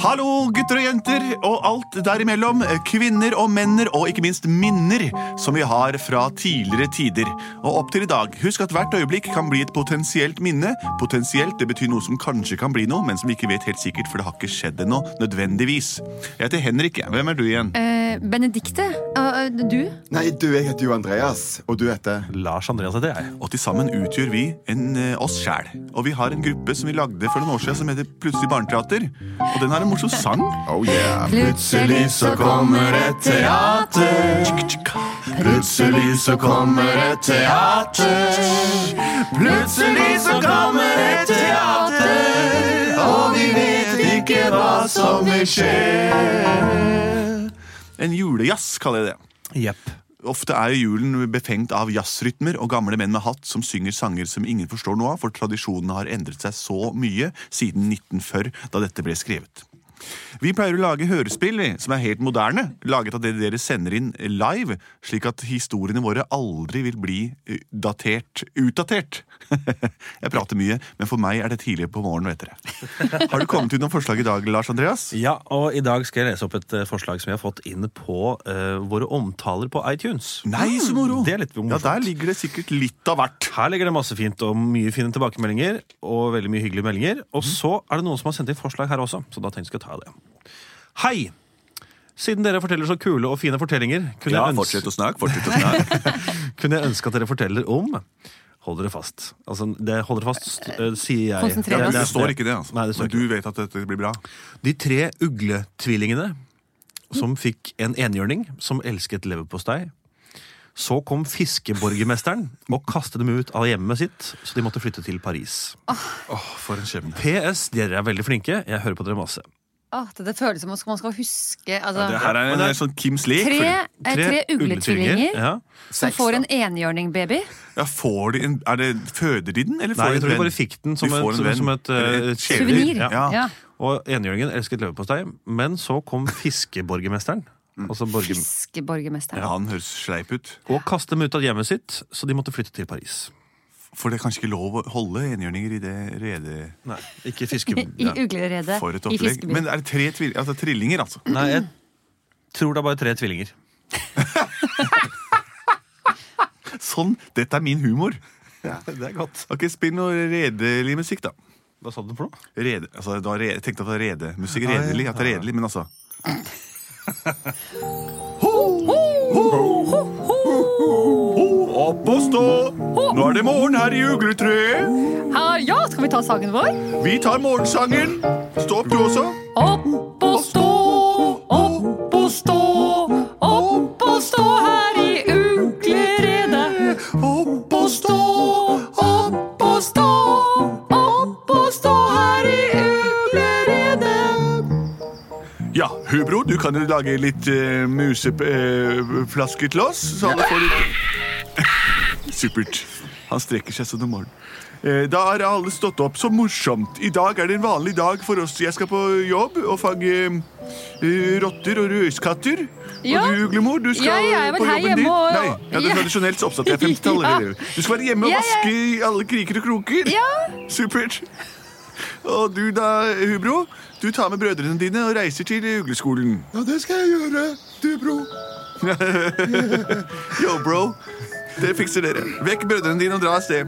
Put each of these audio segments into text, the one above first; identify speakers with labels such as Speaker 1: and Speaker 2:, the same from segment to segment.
Speaker 1: Hallo, gutter og jenter, og alt derimellom. Kvinner og menner, og ikke minst minner som vi har fra tidligere tider. Og opp til i dag. Husk at hvert øyeblikk kan bli et potensielt minne. Potensielt det betyr noe som kanskje kan bli noe, men som vi ikke vet helt sikkert, for det har ikke skjedd ennå, nødvendigvis. Jeg heter Henrik. Hvem er du igjen?
Speaker 2: Eh, Benedikte, eh, du?
Speaker 3: Nei, du, jeg heter jo Andreas, og du heter
Speaker 4: Lars Andreas heter jeg.
Speaker 1: Og til sammen utgjør vi en, eh, oss sjæl. Og vi har en gruppe som vi lagde for noen år siden som heter Plutselig barneteater. Og den har en morsom sang.
Speaker 3: Oh yeah.
Speaker 2: Plutselig så kommer et teater.
Speaker 1: Plutselig så kommer et teater. Plutselig så kommer et teater. Og vi vet ikke hva som vil skje. En julejazz kaller jeg det.
Speaker 4: Jepp.
Speaker 1: Ofte er jo julen befengt av jazzrytmer og gamle menn med hatt som synger sanger som ingen forstår noe av, for tradisjonene har endret seg så mye siden 1940, da dette ble skrevet. Vi pleier å lage hørespill vi, som er helt moderne, laget av det dere sender inn live, slik at historiene våre aldri vil bli eh, datert utdatert. Jeg prater mye, men for meg er det tidlig på morgenen, vet dere. Har du kommet ut noen forslag i dag, Lars Andreas?
Speaker 4: Ja, og i dag skal jeg lese opp et eh, forslag som jeg har fått inn på eh, våre omtaler på iTunes. Mm,
Speaker 1: Nei, så moro!
Speaker 4: Det er litt morsomt.
Speaker 1: Ja, Der ligger det sikkert litt av hvert.
Speaker 4: Her ligger det masse fint og mye fine tilbakemeldinger. Og veldig mye hyggelige meldinger.
Speaker 1: Mm.
Speaker 4: Og så er det noen som har sendt inn forslag her også. Så da tenkte jeg skulle ta det. Hei! Siden dere forteller så kule og fine fortellinger, kunne, jeg, ønske,
Speaker 1: å snakke, fortsett å snakke.
Speaker 4: kunne jeg ønske at dere forteller om Hold dere fast. Altså, det holder dere fast, st- eh, sier jeg.
Speaker 2: Konsentrer
Speaker 4: Det-
Speaker 2: oss.
Speaker 1: Det,
Speaker 4: det-
Speaker 1: står ikke det, altså.
Speaker 4: Nei, det står
Speaker 1: Men du vet at dette blir bra.
Speaker 4: De tre ugletvillingene som fikk en enhjørning som elsket leverpostei. Så kom fiskeborgermesteren og kastet dem ut av hjemmet sitt, så de måtte flytte til Paris.
Speaker 1: for en skjebne.
Speaker 4: PS, dere er veldig flinke. Jeg hører på dere masse.
Speaker 2: Åh, det, det føles som om man skal huske altså,
Speaker 1: Det her er en
Speaker 4: Men det-
Speaker 1: sånn Kims lek.
Speaker 2: Tre,
Speaker 1: fordi-
Speaker 2: eh, tre ugletvillinger
Speaker 4: Ja.
Speaker 2: som får en enhjørning-baby.
Speaker 1: Ja, får de en, er det, føder de den, eller
Speaker 4: Nei,
Speaker 1: får
Speaker 4: jeg
Speaker 1: de en
Speaker 4: tror de bare
Speaker 1: venn?
Speaker 4: fikk den som
Speaker 1: Du får
Speaker 4: et,
Speaker 1: en
Speaker 4: som,
Speaker 1: venn.
Speaker 4: som et
Speaker 1: Eller
Speaker 4: eh,
Speaker 1: et
Speaker 2: Suvenir.
Speaker 4: Ja.
Speaker 2: Ja.
Speaker 1: Ja.
Speaker 4: Og enhjørningen elsket leverpostei, men så kom fiskeborgermesteren.
Speaker 2: Mm.
Speaker 4: Altså borger,
Speaker 2: Fiskeborgermesteren.
Speaker 1: Han høres sleip ut.
Speaker 4: og kastet dem ut av hjemmet sitt, så de måtte flytte til Paris.
Speaker 1: For det er kanskje ikke lov å holde enhjørninger i det redet
Speaker 4: Nei, ikke fiske...
Speaker 2: I ugleredet
Speaker 1: for et
Speaker 2: i
Speaker 1: opplegg.
Speaker 2: fiskebyen.
Speaker 1: Men er det tre tvil altså, trillinger, altså?
Speaker 4: Nei, jeg tror det er bare tre tvillinger.
Speaker 1: Sånn! Dette er min humor.
Speaker 4: Det er godt.
Speaker 1: Ok, Spill noe redelig musikk, da.
Speaker 4: Hva sa du for noe?
Speaker 1: Rede, altså, det var re- jeg tenkte at det var redemusikk.
Speaker 4: ja.
Speaker 1: Redelig. At det er redelig, men altså Opp og stå! Nå er det morgen her i ugletreet.
Speaker 2: Ah, ja, skal vi ta sangen vår?
Speaker 1: Vi tar morgensangen. Stå opp, du også.
Speaker 2: Opp og stå, opp og stå, opp og stå her i ugleredet.
Speaker 1: Opp og stå.
Speaker 2: Opp og stå, opp og stå her i ugleredet.
Speaker 1: Ja, Hubro, du kan jo lage litt uh, museflasker til oss. Så alle får litt Supert. Han strekker seg sånn om morgenen. Eh, Da har alle stått opp. Så morsomt. I dag er det en vanlig dag for oss. Jeg skal på jobb og fange eh, rotter og røyskatter.
Speaker 2: Ja.
Speaker 1: Og du, Uglemor, du skal
Speaker 2: Jeg er vel
Speaker 1: på
Speaker 2: her
Speaker 1: jobben
Speaker 2: hjemme
Speaker 1: din.
Speaker 2: og-
Speaker 1: Nei, ja, det
Speaker 2: Ja.
Speaker 1: er tradisjonelt så oppsatt. Det er 50-tallet.
Speaker 2: Ja.
Speaker 1: dere. Du skal være hjemme og
Speaker 2: Jeg er-
Speaker 1: vaske i alle kriker og kroker.
Speaker 2: Ja.
Speaker 1: Supert. Og du da, Hubro? Du tar med brødrene dine og reiser til ugleskolen.
Speaker 3: Ja, det skal jeg gjøre, du, bro.
Speaker 1: Yo, bro. Det fikser dere. Vekk brødrene dine og dra av sted.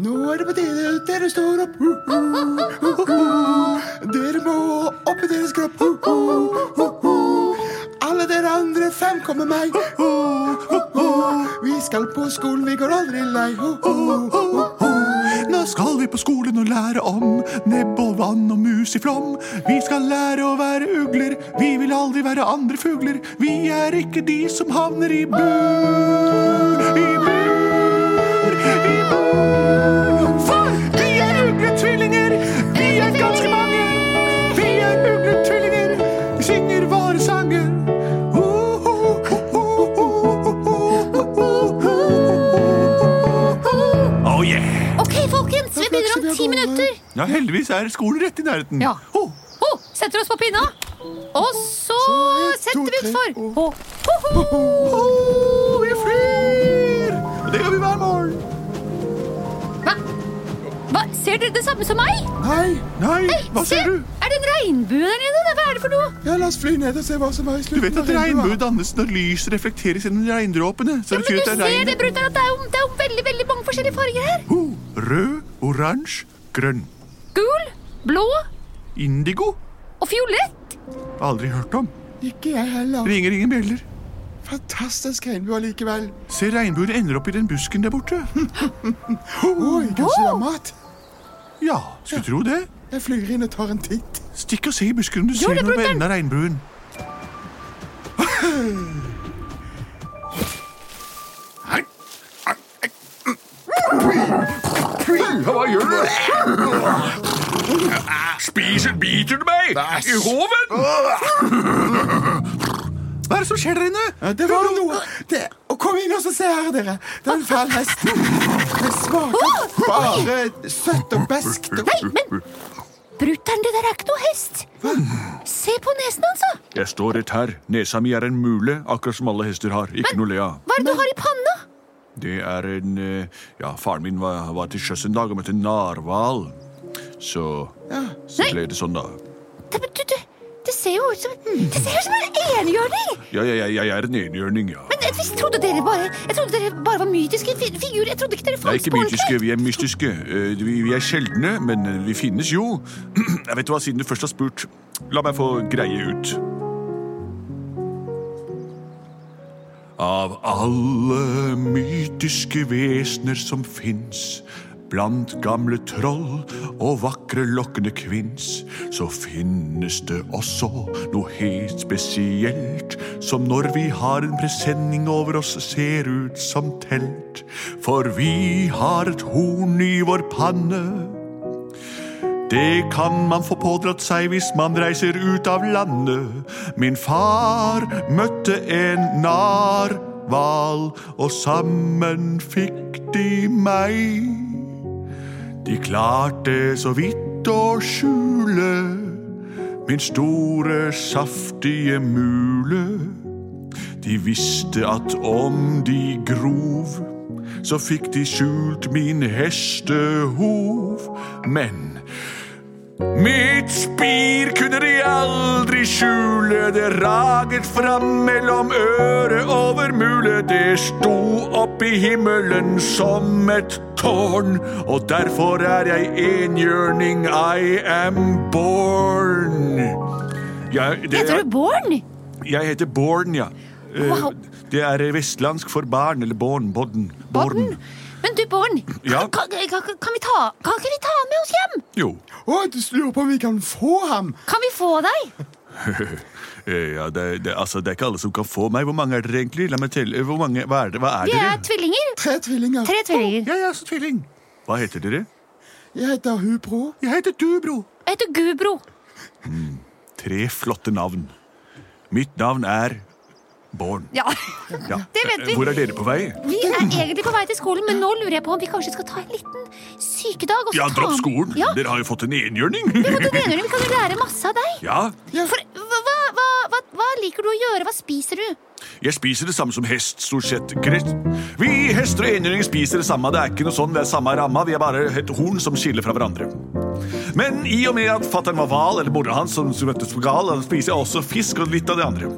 Speaker 3: Nå er det på tide dere står opp. Uh, uh, uh, uh. Dere må opp i deres kropp. Uh, uh, uh, uh. Alle dere andre fem kommer meg. Uh, uh, uh, uh. Vi skal på skolen, vi går aldri lei. Uh, uh, uh, uh.
Speaker 1: Nå skal vi på skolen og lære om nebb og vann og mus i flom. Vi skal lære å være ugler. Vi vil aldri være andre fugler. Vi er ikke de som havner i bur. I bur. I bur. For vi er ugletvillinger. Vi er ganske mange. Vi er ugletvillinger. Vi synger våre sanger. Oh yeah!
Speaker 2: Ok, folkens, vi begynner om ti minutter.
Speaker 1: Ja, heldigvis er skolen rett i nærheten.
Speaker 2: Ja.
Speaker 1: Ho!
Speaker 2: Ho, setter oss på pinna. Og så setter vi utfor. Ho, ho, ho.
Speaker 1: Ho, vi flyr! Og det gjør vi hver morgen.
Speaker 2: Hva? Hva?
Speaker 5: Ser dere det samme som meg?
Speaker 3: Nei,
Speaker 6: Nei, hva
Speaker 5: Se,
Speaker 6: ser du?
Speaker 5: Er det en regnbue der nede? Nei, Hva er det for noe?
Speaker 3: ja, la oss fly ned og se hva som er i
Speaker 6: Du
Speaker 3: slutten.
Speaker 6: vet at
Speaker 3: av regnbuen.
Speaker 6: regnbue dannes når lys reflekteres gjennom regndråpene. Så det
Speaker 5: Ja, men du
Speaker 6: betyr at
Speaker 5: ser
Speaker 6: det er
Speaker 5: det,
Speaker 6: regn.
Speaker 5: brutter'n, at det er, jo, det er jo veldig veldig mange forskjellige farger her.
Speaker 6: Oh, Rød, oransje, grønn.
Speaker 5: Gul, blå
Speaker 6: Indigo?
Speaker 5: og fiolett.
Speaker 6: Aldri hørt om.
Speaker 3: Ikke jeg heller.
Speaker 6: Ringer ingen bjeller.
Speaker 3: Fantastisk regnbue allikevel.
Speaker 6: Se, regnbuen ender opp i den busken der borte. Hm,
Speaker 3: Oi, kanskje det er mat?
Speaker 6: Ja, skulle tro det.
Speaker 3: Jeg flyr inn og tar en titt.
Speaker 6: Stikk og se i busken om du
Speaker 5: Gjør
Speaker 6: ser
Speaker 5: det,
Speaker 6: noe på
Speaker 5: brutter'n.
Speaker 6: enden av regnbuen.
Speaker 1: Hva gjør du? Spiser biter du meg i hoven?
Speaker 6: Hva er det som skjer der inne?
Speaker 3: Ja, det var noe. Det, og kom inn og så se her, dere. Det er en fæl hest. Det smaker bare søtt og beskt.
Speaker 5: Nei, men brutter'n, det der er ikke noe hest. Se på nesen hans, da.
Speaker 1: Jeg står rett her. Nesa mi er en mule, akkurat som alle hester har. Ikke noe le av.
Speaker 5: Hva er det du har i panna?
Speaker 1: Det er en eh, Ja, faren min var, var til sjøs en dag og møtte en narhval. Så, så
Speaker 5: Nei.
Speaker 1: ble det sånn, da.
Speaker 5: Det, men du, du, det ser jo ut som Det ser ut som en enhjørning!
Speaker 1: Ja, ja, ja, jeg er en enhjørning, ja.
Speaker 5: Men jeg visst trodde dere bare Jeg trodde dere bare var mytiske fi figurer. Jeg trodde ikke dere
Speaker 1: Nei,
Speaker 5: fantes
Speaker 1: ikke
Speaker 5: på
Speaker 1: mytiske,
Speaker 5: ordentlig.
Speaker 1: vi er mystiske. Eh, Vi, vi er sjeldne, men eh, vi finnes jo. Jeg vet hva, siden du først har spurt, la meg få greie ut. Av alle mytiske vesener som fins, blant gamle troll og vakre lokkende kvinns, så finnes det også noe helt spesielt, som når vi har en presenning over oss ser ut som telt, for vi har et horn i vår panne. Det kan man få pådratt seg hvis man reiser ut av landet. Min far møtte en narhval, og sammen fikk de meg. De klarte så vidt å skjule min store, saftige mule. De visste at om de grov, så fikk de skjult min hestehov. Men Mitt spir kunne de aldri skjule, det raget fram mellom øre over mule. Det sto opp i himmelen som et tårn, og derfor er jeg enhjørning, I am born. Jeg, det,
Speaker 5: Heter du Born?
Speaker 1: jeg heter Born, ja. Eh,
Speaker 5: Wow.
Speaker 1: Det er eh, vestlandsk for barn, eller born, bodden.
Speaker 5: Born? Men du, Born,
Speaker 1: Ja?
Speaker 5: kan, kan, kan, vi ta, kan ikke vi ta han med oss hjem?
Speaker 1: Jo.
Speaker 3: Å, du lurer på om vi kan få ham?
Speaker 5: Kan vi få deg?
Speaker 1: Eh, Ja, det, det, altså, det er ikke alle som kan få meg. Hvor mange er dere egentlig? La meg telle. Hvor mange, hva er, det, hva er
Speaker 5: Vi
Speaker 1: dere?
Speaker 5: er tvillinger.
Speaker 3: Tre tvillinger.
Speaker 5: Tre tvillinger.
Speaker 1: Ja, ja, så tvilling. Hva heter dere?
Speaker 3: Jeg heter Hubro.
Speaker 1: Jeg heter du, bro.
Speaker 5: Jeg heter Gubro.
Speaker 1: Tre flotte navn. Mitt navn er Born.
Speaker 5: Ja,
Speaker 1: Ja.
Speaker 5: det vet vi.
Speaker 1: Hvor er dere på vei?
Speaker 5: Vi er egentlig på vei til skolen, men nå lurer jeg på om vi kanskje skal ta en liten sykedag. Og så
Speaker 1: Ja,
Speaker 5: ta
Speaker 1: dropp
Speaker 5: med-
Speaker 1: skolen.
Speaker 5: Ja,
Speaker 1: Dere har jo fått en enhjørning.
Speaker 5: vi måtte dele den. Vi kan jo lære masse av deg.
Speaker 1: Ja,
Speaker 5: For hva, hva- hva, hva, hva liker du å gjøre? Hva spiser du?
Speaker 1: jeg spiser det samme som hest, stort sett. Greit. Vi hester og enhjørninger spiser det samme. Det er ikke noe sånn, det er samme ramma. Vi er bare et horn som skiller fra hverandre. Men i og med at fattern var hval, eller mora hans som møttes på gal, da spiser jeg også fisk og litt av det andre.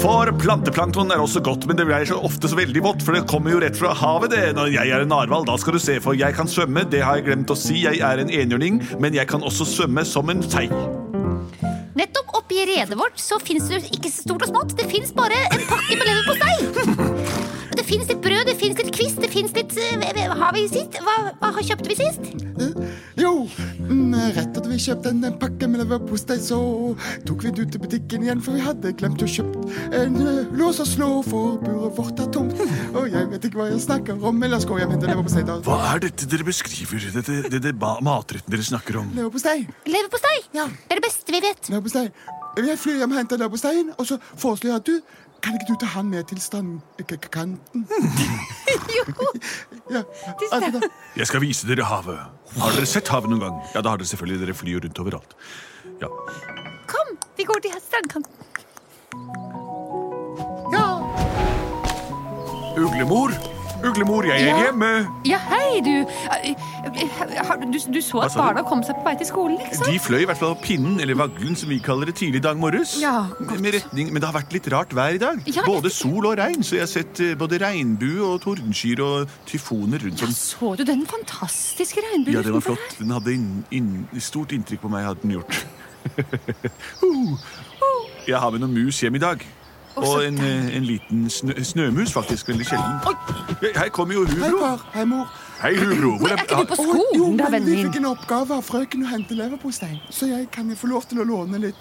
Speaker 1: For planteplankton er også godt, men det blir så ofte så veldig vått, for det kommer jo rett fra havet, det. Når jeg er en narhval, da skal du se, for jeg kan svømme, det har jeg glemt å si, jeg er en enhjørning, men jeg kan også svømme som en sei.
Speaker 5: Nettopp oppi redet vårt så fins det ikke så stort og smått. Det fins bare en pakke med leverpostei. Det fins litt brød, det fins litt kvist, det fins litt eh, hva- hva Har vi sist? Hva, hva har- kjøpte vi sist?
Speaker 3: Eh, Jo, mm, rett at vi kjøpte en en pakke med leverpostei, så tok vi den ut til butikken igjen, for vi hadde glemt å kjøpe en eh, lås og slå, for buret vårt er tomt. Og jeg vet ikke hva jeg snakker om, men la oss gå hjem og hente leverpostei. da.
Speaker 1: Hm. Hva er dette dere beskriver, dette, dette ba- matretten dere snakker om?
Speaker 3: Leverpostei.
Speaker 5: Leverpostei.
Speaker 3: Ja.
Speaker 5: Det er det beste vi vet.
Speaker 3: Leverpostei. Jeg flyr hjem og henter leverposteien, og så foreslår jeg at du kan ikke du ta han med til strandkanten?
Speaker 5: Jo.
Speaker 3: Ja, ha det da.
Speaker 1: Jeg skal vise dere havet. Har dere sett havet noen gang? Ja, da har dere selvfølgelig, dere flyr rundt overalt. Ja.
Speaker 5: Kom, vi går til strandkanten.
Speaker 1: Uglemor,
Speaker 7: Uglemor, jeg er
Speaker 2: Ja.
Speaker 7: hjemme.
Speaker 2: Ja, hei, du. Eh, har- Du, du så
Speaker 1: Hva
Speaker 2: at
Speaker 1: sa du?
Speaker 2: barna kom seg på vei til skolen, ikke sant?
Speaker 1: De fløy i hvert fall av pinnen, eller vaglen som vi kaller det, tidlig i dag morges.
Speaker 2: Ja, godt.
Speaker 1: med retning, men det har vært litt rart vær i dag.
Speaker 2: Ja,
Speaker 1: både sol og regn, så jeg har sett eh, både regnbue og tordenskyer og tyfoner rundt om.
Speaker 2: Så du den fantastiske regnbuen
Speaker 1: Ja, det var
Speaker 2: utenfor
Speaker 1: flott. Den hadde inn, inn, stort inntrykk på meg, hadde den gjort. Jeg har med noen mus hjem i dag. Og en, eh, en liten snø, snømus, faktisk. Veldig sjelden. Her kommer jo
Speaker 3: Hei,
Speaker 1: Hubro.
Speaker 3: far. Hei, mor.
Speaker 1: Hei, Hubro. Hvor
Speaker 2: her? Er ikke du
Speaker 3: Å,
Speaker 2: på
Speaker 3: jo,
Speaker 2: skolen, da,
Speaker 3: men
Speaker 2: vennen
Speaker 3: vi fikk
Speaker 2: min?
Speaker 3: en oppgave av frøken å hente leverpostei, så jeg kan jeg få lov til å låne litt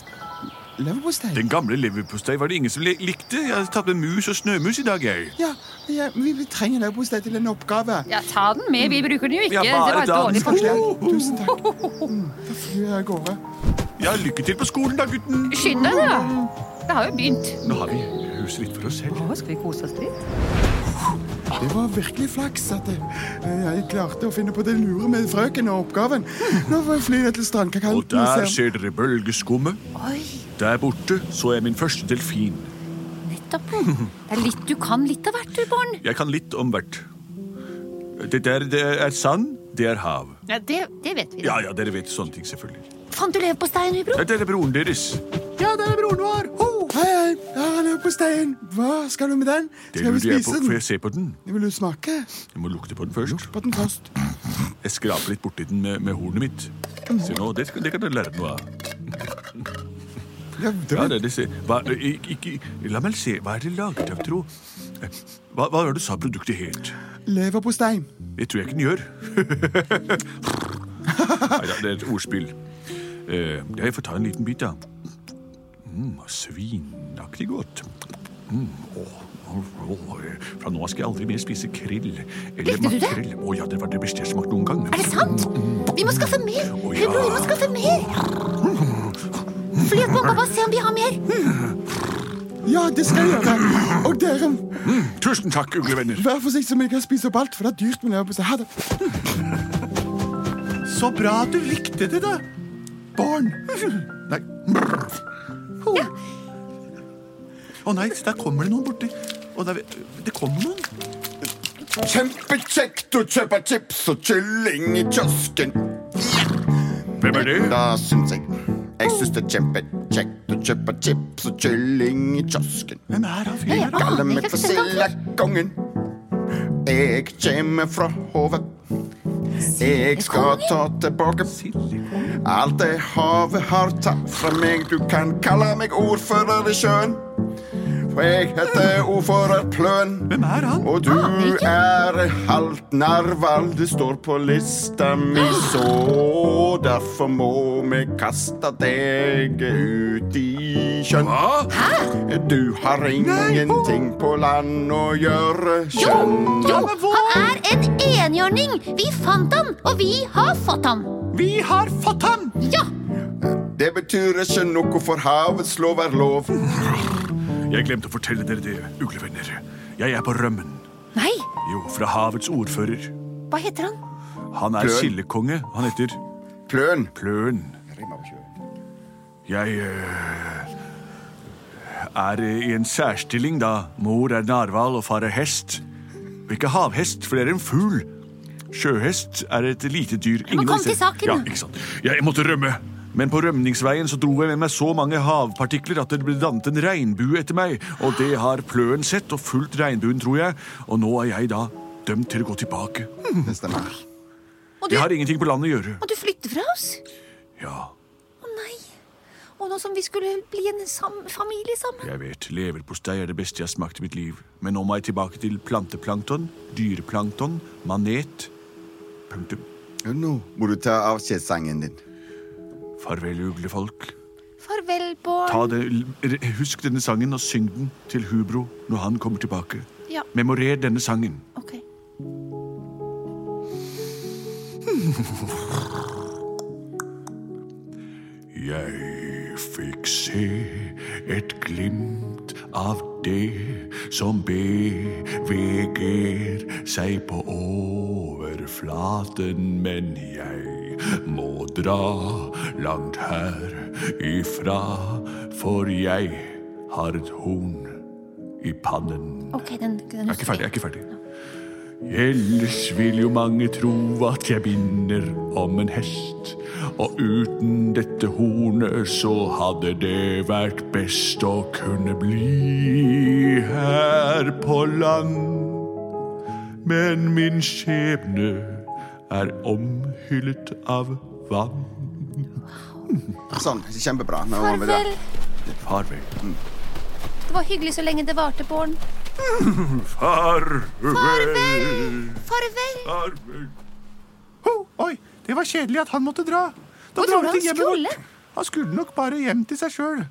Speaker 3: leverpostei?
Speaker 1: Den gamle leverpostei var det ingen som li- likte. Jeg har tatt med mus og snømus i dag, jeg.
Speaker 3: Ja, ja vi, vi trenger leverpostei til en oppgave.
Speaker 2: Ja, ta den med. Vi bruker den jo ikke.
Speaker 1: Ja,
Speaker 2: Det
Speaker 1: bare
Speaker 2: var et
Speaker 1: ta den.
Speaker 2: dårlig
Speaker 3: Kanskje
Speaker 2: forslag.
Speaker 3: jeg- Tusen takk. Mm, Da flyr jeg av gårde.
Speaker 1: Ja, lykke til på skolen, da, gutten.
Speaker 2: Skynd deg, da. Det har jo begynt.
Speaker 1: Nå har vi huset litt for oss selv.
Speaker 2: Å, skal vi kose oss litt?
Speaker 3: Det var virkelig flaks at jeg, jeg klarte å finne på det lure med frøken og oppgaven. Nå får jeg fly ned til strandkakanten.
Speaker 1: Og der ser dere bølgeskummet.
Speaker 5: Oi,
Speaker 1: Der borte så jeg min første delfin.
Speaker 5: nettopp. Det er litt, du kan litt av hvert, du, barn.
Speaker 1: Jeg kan litt om hvert. Det der det er sand, det er hav.
Speaker 5: Ja, det, det vet vi.
Speaker 1: Ja, ja, dere vet sånne ting, selvfølgelig.
Speaker 5: Fant du leverposteien, Hubro?
Speaker 1: Det er dere broren deres.
Speaker 3: Ja, der er broren vår. Ho! Hei, hei. Her er leverposteien. Hva skal du med den?
Speaker 1: Det
Speaker 3: Skal vi
Speaker 1: lurer jeg på.
Speaker 3: spise
Speaker 1: Får
Speaker 3: den?
Speaker 1: jeg se på den?
Speaker 3: Vil du smake
Speaker 1: Jeg må lukte på den først.
Speaker 3: på den først?
Speaker 1: Jeg skraper litt borti den med, med hornet mitt. Se nå, det, skal- det kan dere lære noe av.
Speaker 3: Ja, det
Speaker 1: Ja,
Speaker 3: var
Speaker 1: det, det ser. Hva, ikke, ikke, la meg se, hva er det laget av, tro? Eh, Hva, hva var det du sa produktet het?
Speaker 3: leverpostei.
Speaker 1: Det tror jeg ikke den gjør. Neida, det er et ordspill. Eh, jeg får ta en liten bit, da. Mm, svinaktig godt. Mm, åh, åh, åh, eh, Fra nå av skal jeg aldri mer spise krill. Eller
Speaker 5: Likte du det?
Speaker 1: makrell. Å ja, det var det beste jeg smakte noen gang.
Speaker 5: Er det sant? Vi må skaffe mer.
Speaker 1: Å, ja.
Speaker 5: Hubro, vi må skaffe mer. Fly opp, pappa, se om vi har mer.
Speaker 3: Ja, det skal jeg gjøre. Og dere,
Speaker 1: Tusen takk, uglevenner.
Speaker 3: vær forsiktig så vi ikke spiser opp alt, for det er dyrt med leverpostei. Ha det.
Speaker 1: Så bra at du likte det, da. Barn. Nei. Å nei, der kommer det noen borti. Å, der, det kommer noen.
Speaker 8: Kjempekjekt å kjøpe chips og kylling i kiosken.
Speaker 1: Hvem er det?
Speaker 8: Da syns jeg Jeg syns det er kjempekjekt å kjøpe chips og kylling i kiosken.
Speaker 1: Hvem er han
Speaker 5: Ja,
Speaker 1: fyren?
Speaker 5: ja.
Speaker 8: Kaller
Speaker 5: Aner
Speaker 8: meg
Speaker 5: ikke
Speaker 8: for
Speaker 5: hvem det er.
Speaker 8: sildekongen. Jeg kommer fra Hove. Jeg skal ta tilbake alt det havet har tatt fra meg. Du kan kalle meg ordfører i sjøen. For jeg heter ordfører Pløen.
Speaker 1: Hvem er han?
Speaker 8: Og du er halvt narval, det står på lista mi, så derfor må vi kaste deg ut i sjøen. Du har ingenting på land å gjøre, skjønn.
Speaker 5: Jo, han er en enhjørning. Vi fant han, og vi har fått han.
Speaker 1: Vi har fått ham!
Speaker 5: Ja,
Speaker 8: Det betyr ikke noe for havets lov er lov.
Speaker 1: Jeg glemte å fortelle dere det, uglevenner. Jeg er på rømmen.
Speaker 5: nei,
Speaker 1: Jo, fra havets ordfører.
Speaker 5: hva heter han?
Speaker 1: Han er
Speaker 8: Pløn.
Speaker 1: sildekonge. Han heter
Speaker 8: Pløn.
Speaker 1: Pløn. Jeg eh, er i en særstilling, da mor er narhval og far er hest. Og Ikke havhest, for det er en fugl. Sjøhest er et lite dyr. Ingen
Speaker 5: kom
Speaker 1: av disse-
Speaker 5: til saken,
Speaker 1: Ja,
Speaker 5: da.
Speaker 1: ikke sant. Jeg måtte rømme. Men på rømningsveien så dro jeg med meg så mange havpartikler at det ble dannet en regnbue etter meg. Og det har pløen sett og fulgt regnbuen, tror jeg. Og nå er jeg da dømt til å gå tilbake.
Speaker 8: Det stemmer.
Speaker 5: Må du,
Speaker 1: Jeg har ingenting på landet å gjøre.
Speaker 5: må du flytte fra oss?
Speaker 1: Ja,
Speaker 5: Å nei. Og nå som vi skulle bli en sam familie sammen.
Speaker 1: Jeg vet, leverpostei er det beste jeg har smakt i mitt liv. Men nå må jeg tilbake til planteplankton, dyreplankton, manet. Punktum.
Speaker 8: Nå må du ta avskjedssangen din.
Speaker 1: Farvel, uglefolk.
Speaker 5: Farvel, barn.
Speaker 1: Ta det, l- husk denne sangen og syng den til Hubro når han kommer tilbake.
Speaker 5: Ja.
Speaker 1: Memorer denne sangen.
Speaker 5: Ok.
Speaker 1: Jeg fikk se et glimt av det som beveger seg på overflaten, men jeg må dra langt her ifra, for jeg har et horn i pannen.
Speaker 5: Ok, den,
Speaker 1: Jeg
Speaker 5: den
Speaker 1: er ikke ferdig, jeg er ikke ferdig. Ellers vil jo mange tro at jeg binder om en hest. Og uten dette hornet så hadde det vært best å kunne bli her på land. Men min skjebne er omhyllet av vann.
Speaker 8: Sånn. Kjempebra. Nå må vi da.
Speaker 5: Farvel.
Speaker 1: Farvel.
Speaker 5: Det var hyggelig så lenge det varte, Bård.
Speaker 1: Farvel!
Speaker 5: Farvel.
Speaker 1: Farvel.
Speaker 9: Ho, oi, det var kjedelig at han måtte dra. Da
Speaker 5: Hvor
Speaker 9: drar
Speaker 5: tror du
Speaker 9: vi til
Speaker 5: han
Speaker 9: hjemmet
Speaker 5: skulle?
Speaker 9: vårt. Han skulle nok bare hjem til seg sjøl.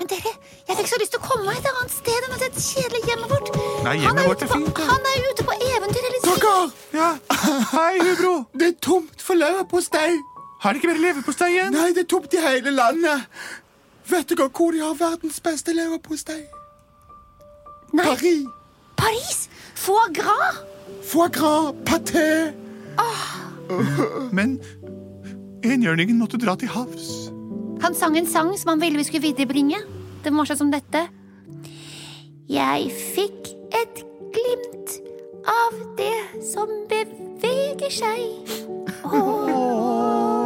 Speaker 5: Men dere, jeg fikk så lyst til å komme meg et annet sted enn dette kjedelige hjemmet vårt.
Speaker 9: Nei,
Speaker 5: han,
Speaker 9: hjemmet
Speaker 5: er
Speaker 9: vårt
Speaker 5: ute
Speaker 9: er
Speaker 5: på,
Speaker 9: fint, det.
Speaker 5: han er jo ute på eventyr hele tiden.
Speaker 3: Dere,
Speaker 9: Ja. Hei, hubro.
Speaker 3: det er tomt for leverpostei.
Speaker 9: Har det ikke mer leverpostei igjen?
Speaker 3: Nei, det er tomt i hele landet. Vet dere hvor de har verdens beste leverpostei?
Speaker 5: Nei,
Speaker 3: Paris.
Speaker 5: Paris! Foie gras!
Speaker 3: Foie gras, paté.
Speaker 9: Men enhjørningen måtte dra til havs.
Speaker 5: Han sang en sang som han ville vi skulle viderebringe. Den var sånn som dette. Jeg fikk et glimt av det som beveger seg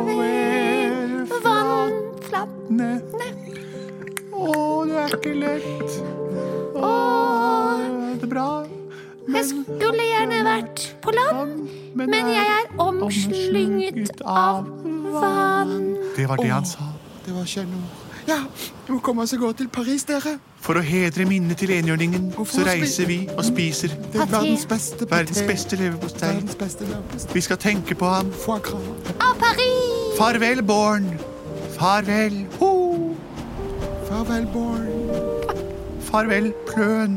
Speaker 5: over vannflammene.
Speaker 9: Å, det er ikke lett. Å, det er bra.
Speaker 5: Jeg skulle gjerne vært på land, men jeg er omslynget av vann.
Speaker 9: Det var det han sa.
Speaker 3: Det var kjenneord. Ja, vi må komme oss og gå til Paris, dere.
Speaker 9: For å hedre minnet til enhjørningen, så
Speaker 3: å spi-
Speaker 9: reiser vi og spiser
Speaker 3: Det er
Speaker 5: Paté.
Speaker 3: verdens beste paté.
Speaker 9: verdens beste leverpostei.
Speaker 3: Verdens beste leverpostei.
Speaker 9: Vi skal tenke på ham.
Speaker 3: Foie gras.
Speaker 5: Av Paris!
Speaker 9: Farvel, Born. Farvel, ho.
Speaker 3: Farvel, Born.
Speaker 9: Farvel, Pløn.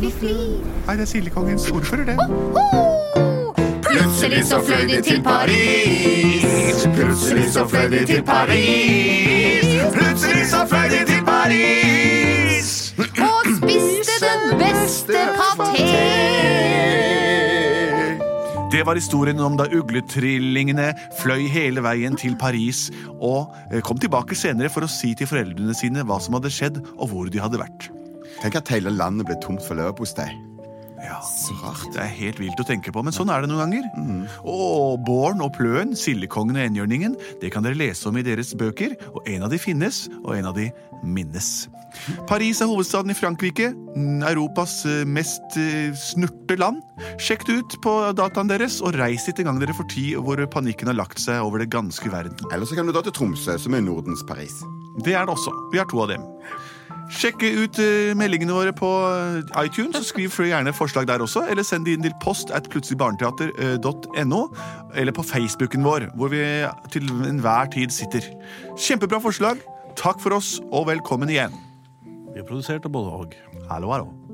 Speaker 5: Vi flyr.
Speaker 9: Nei, det er Sildekongens ordfører, det.
Speaker 5: Ho! Plutselig så fløy de til Paris.
Speaker 8: Plutselig så fløy de til Paris. Plutselig så fløy de til Paris.
Speaker 5: Og spiste den beste paté.
Speaker 9: Det var historien om da ugletrillingene fløy hele veien til Paris og eh, kom tilbake senere for å si til foreldrene sine hva som hadde skjedd, og hvor de hadde vært.
Speaker 8: Tenk at hele landet ble tomt for leverpostei.
Speaker 9: Ja, Det er helt vilt å tenke på, men sånn er det noen ganger. Og Born og Pløen, Sildekongen og Enhjørningen, det kan dere lese om i deres bøker, og en av de finnes, og en av de minnes. Paris er hovedstaden i Frankrike, mm, Europas eh, mest eh, snurte land. Sjekk det ut på dataen deres, og reis dit en gang dere får tid hvor panikken har lagt seg over det ganske verden.
Speaker 8: Eller så kan du dra til Tromsø, som er Nordens Paris.
Speaker 9: Det er det også. Vi har to av dem. Sjekk ut eh, meldingene våre på eh, iTunes. og Skriv for gjerne forslag der også, eller send de inn til post at eh, plutseligbarneteater.no, eller på Facebooken vår, hvor vi eh, til enhver tid sitter. Kjempebra forslag. Takk for oss, og velkommen igjen.
Speaker 4: Vi har produsert av både og.
Speaker 9: Hallo, hallo.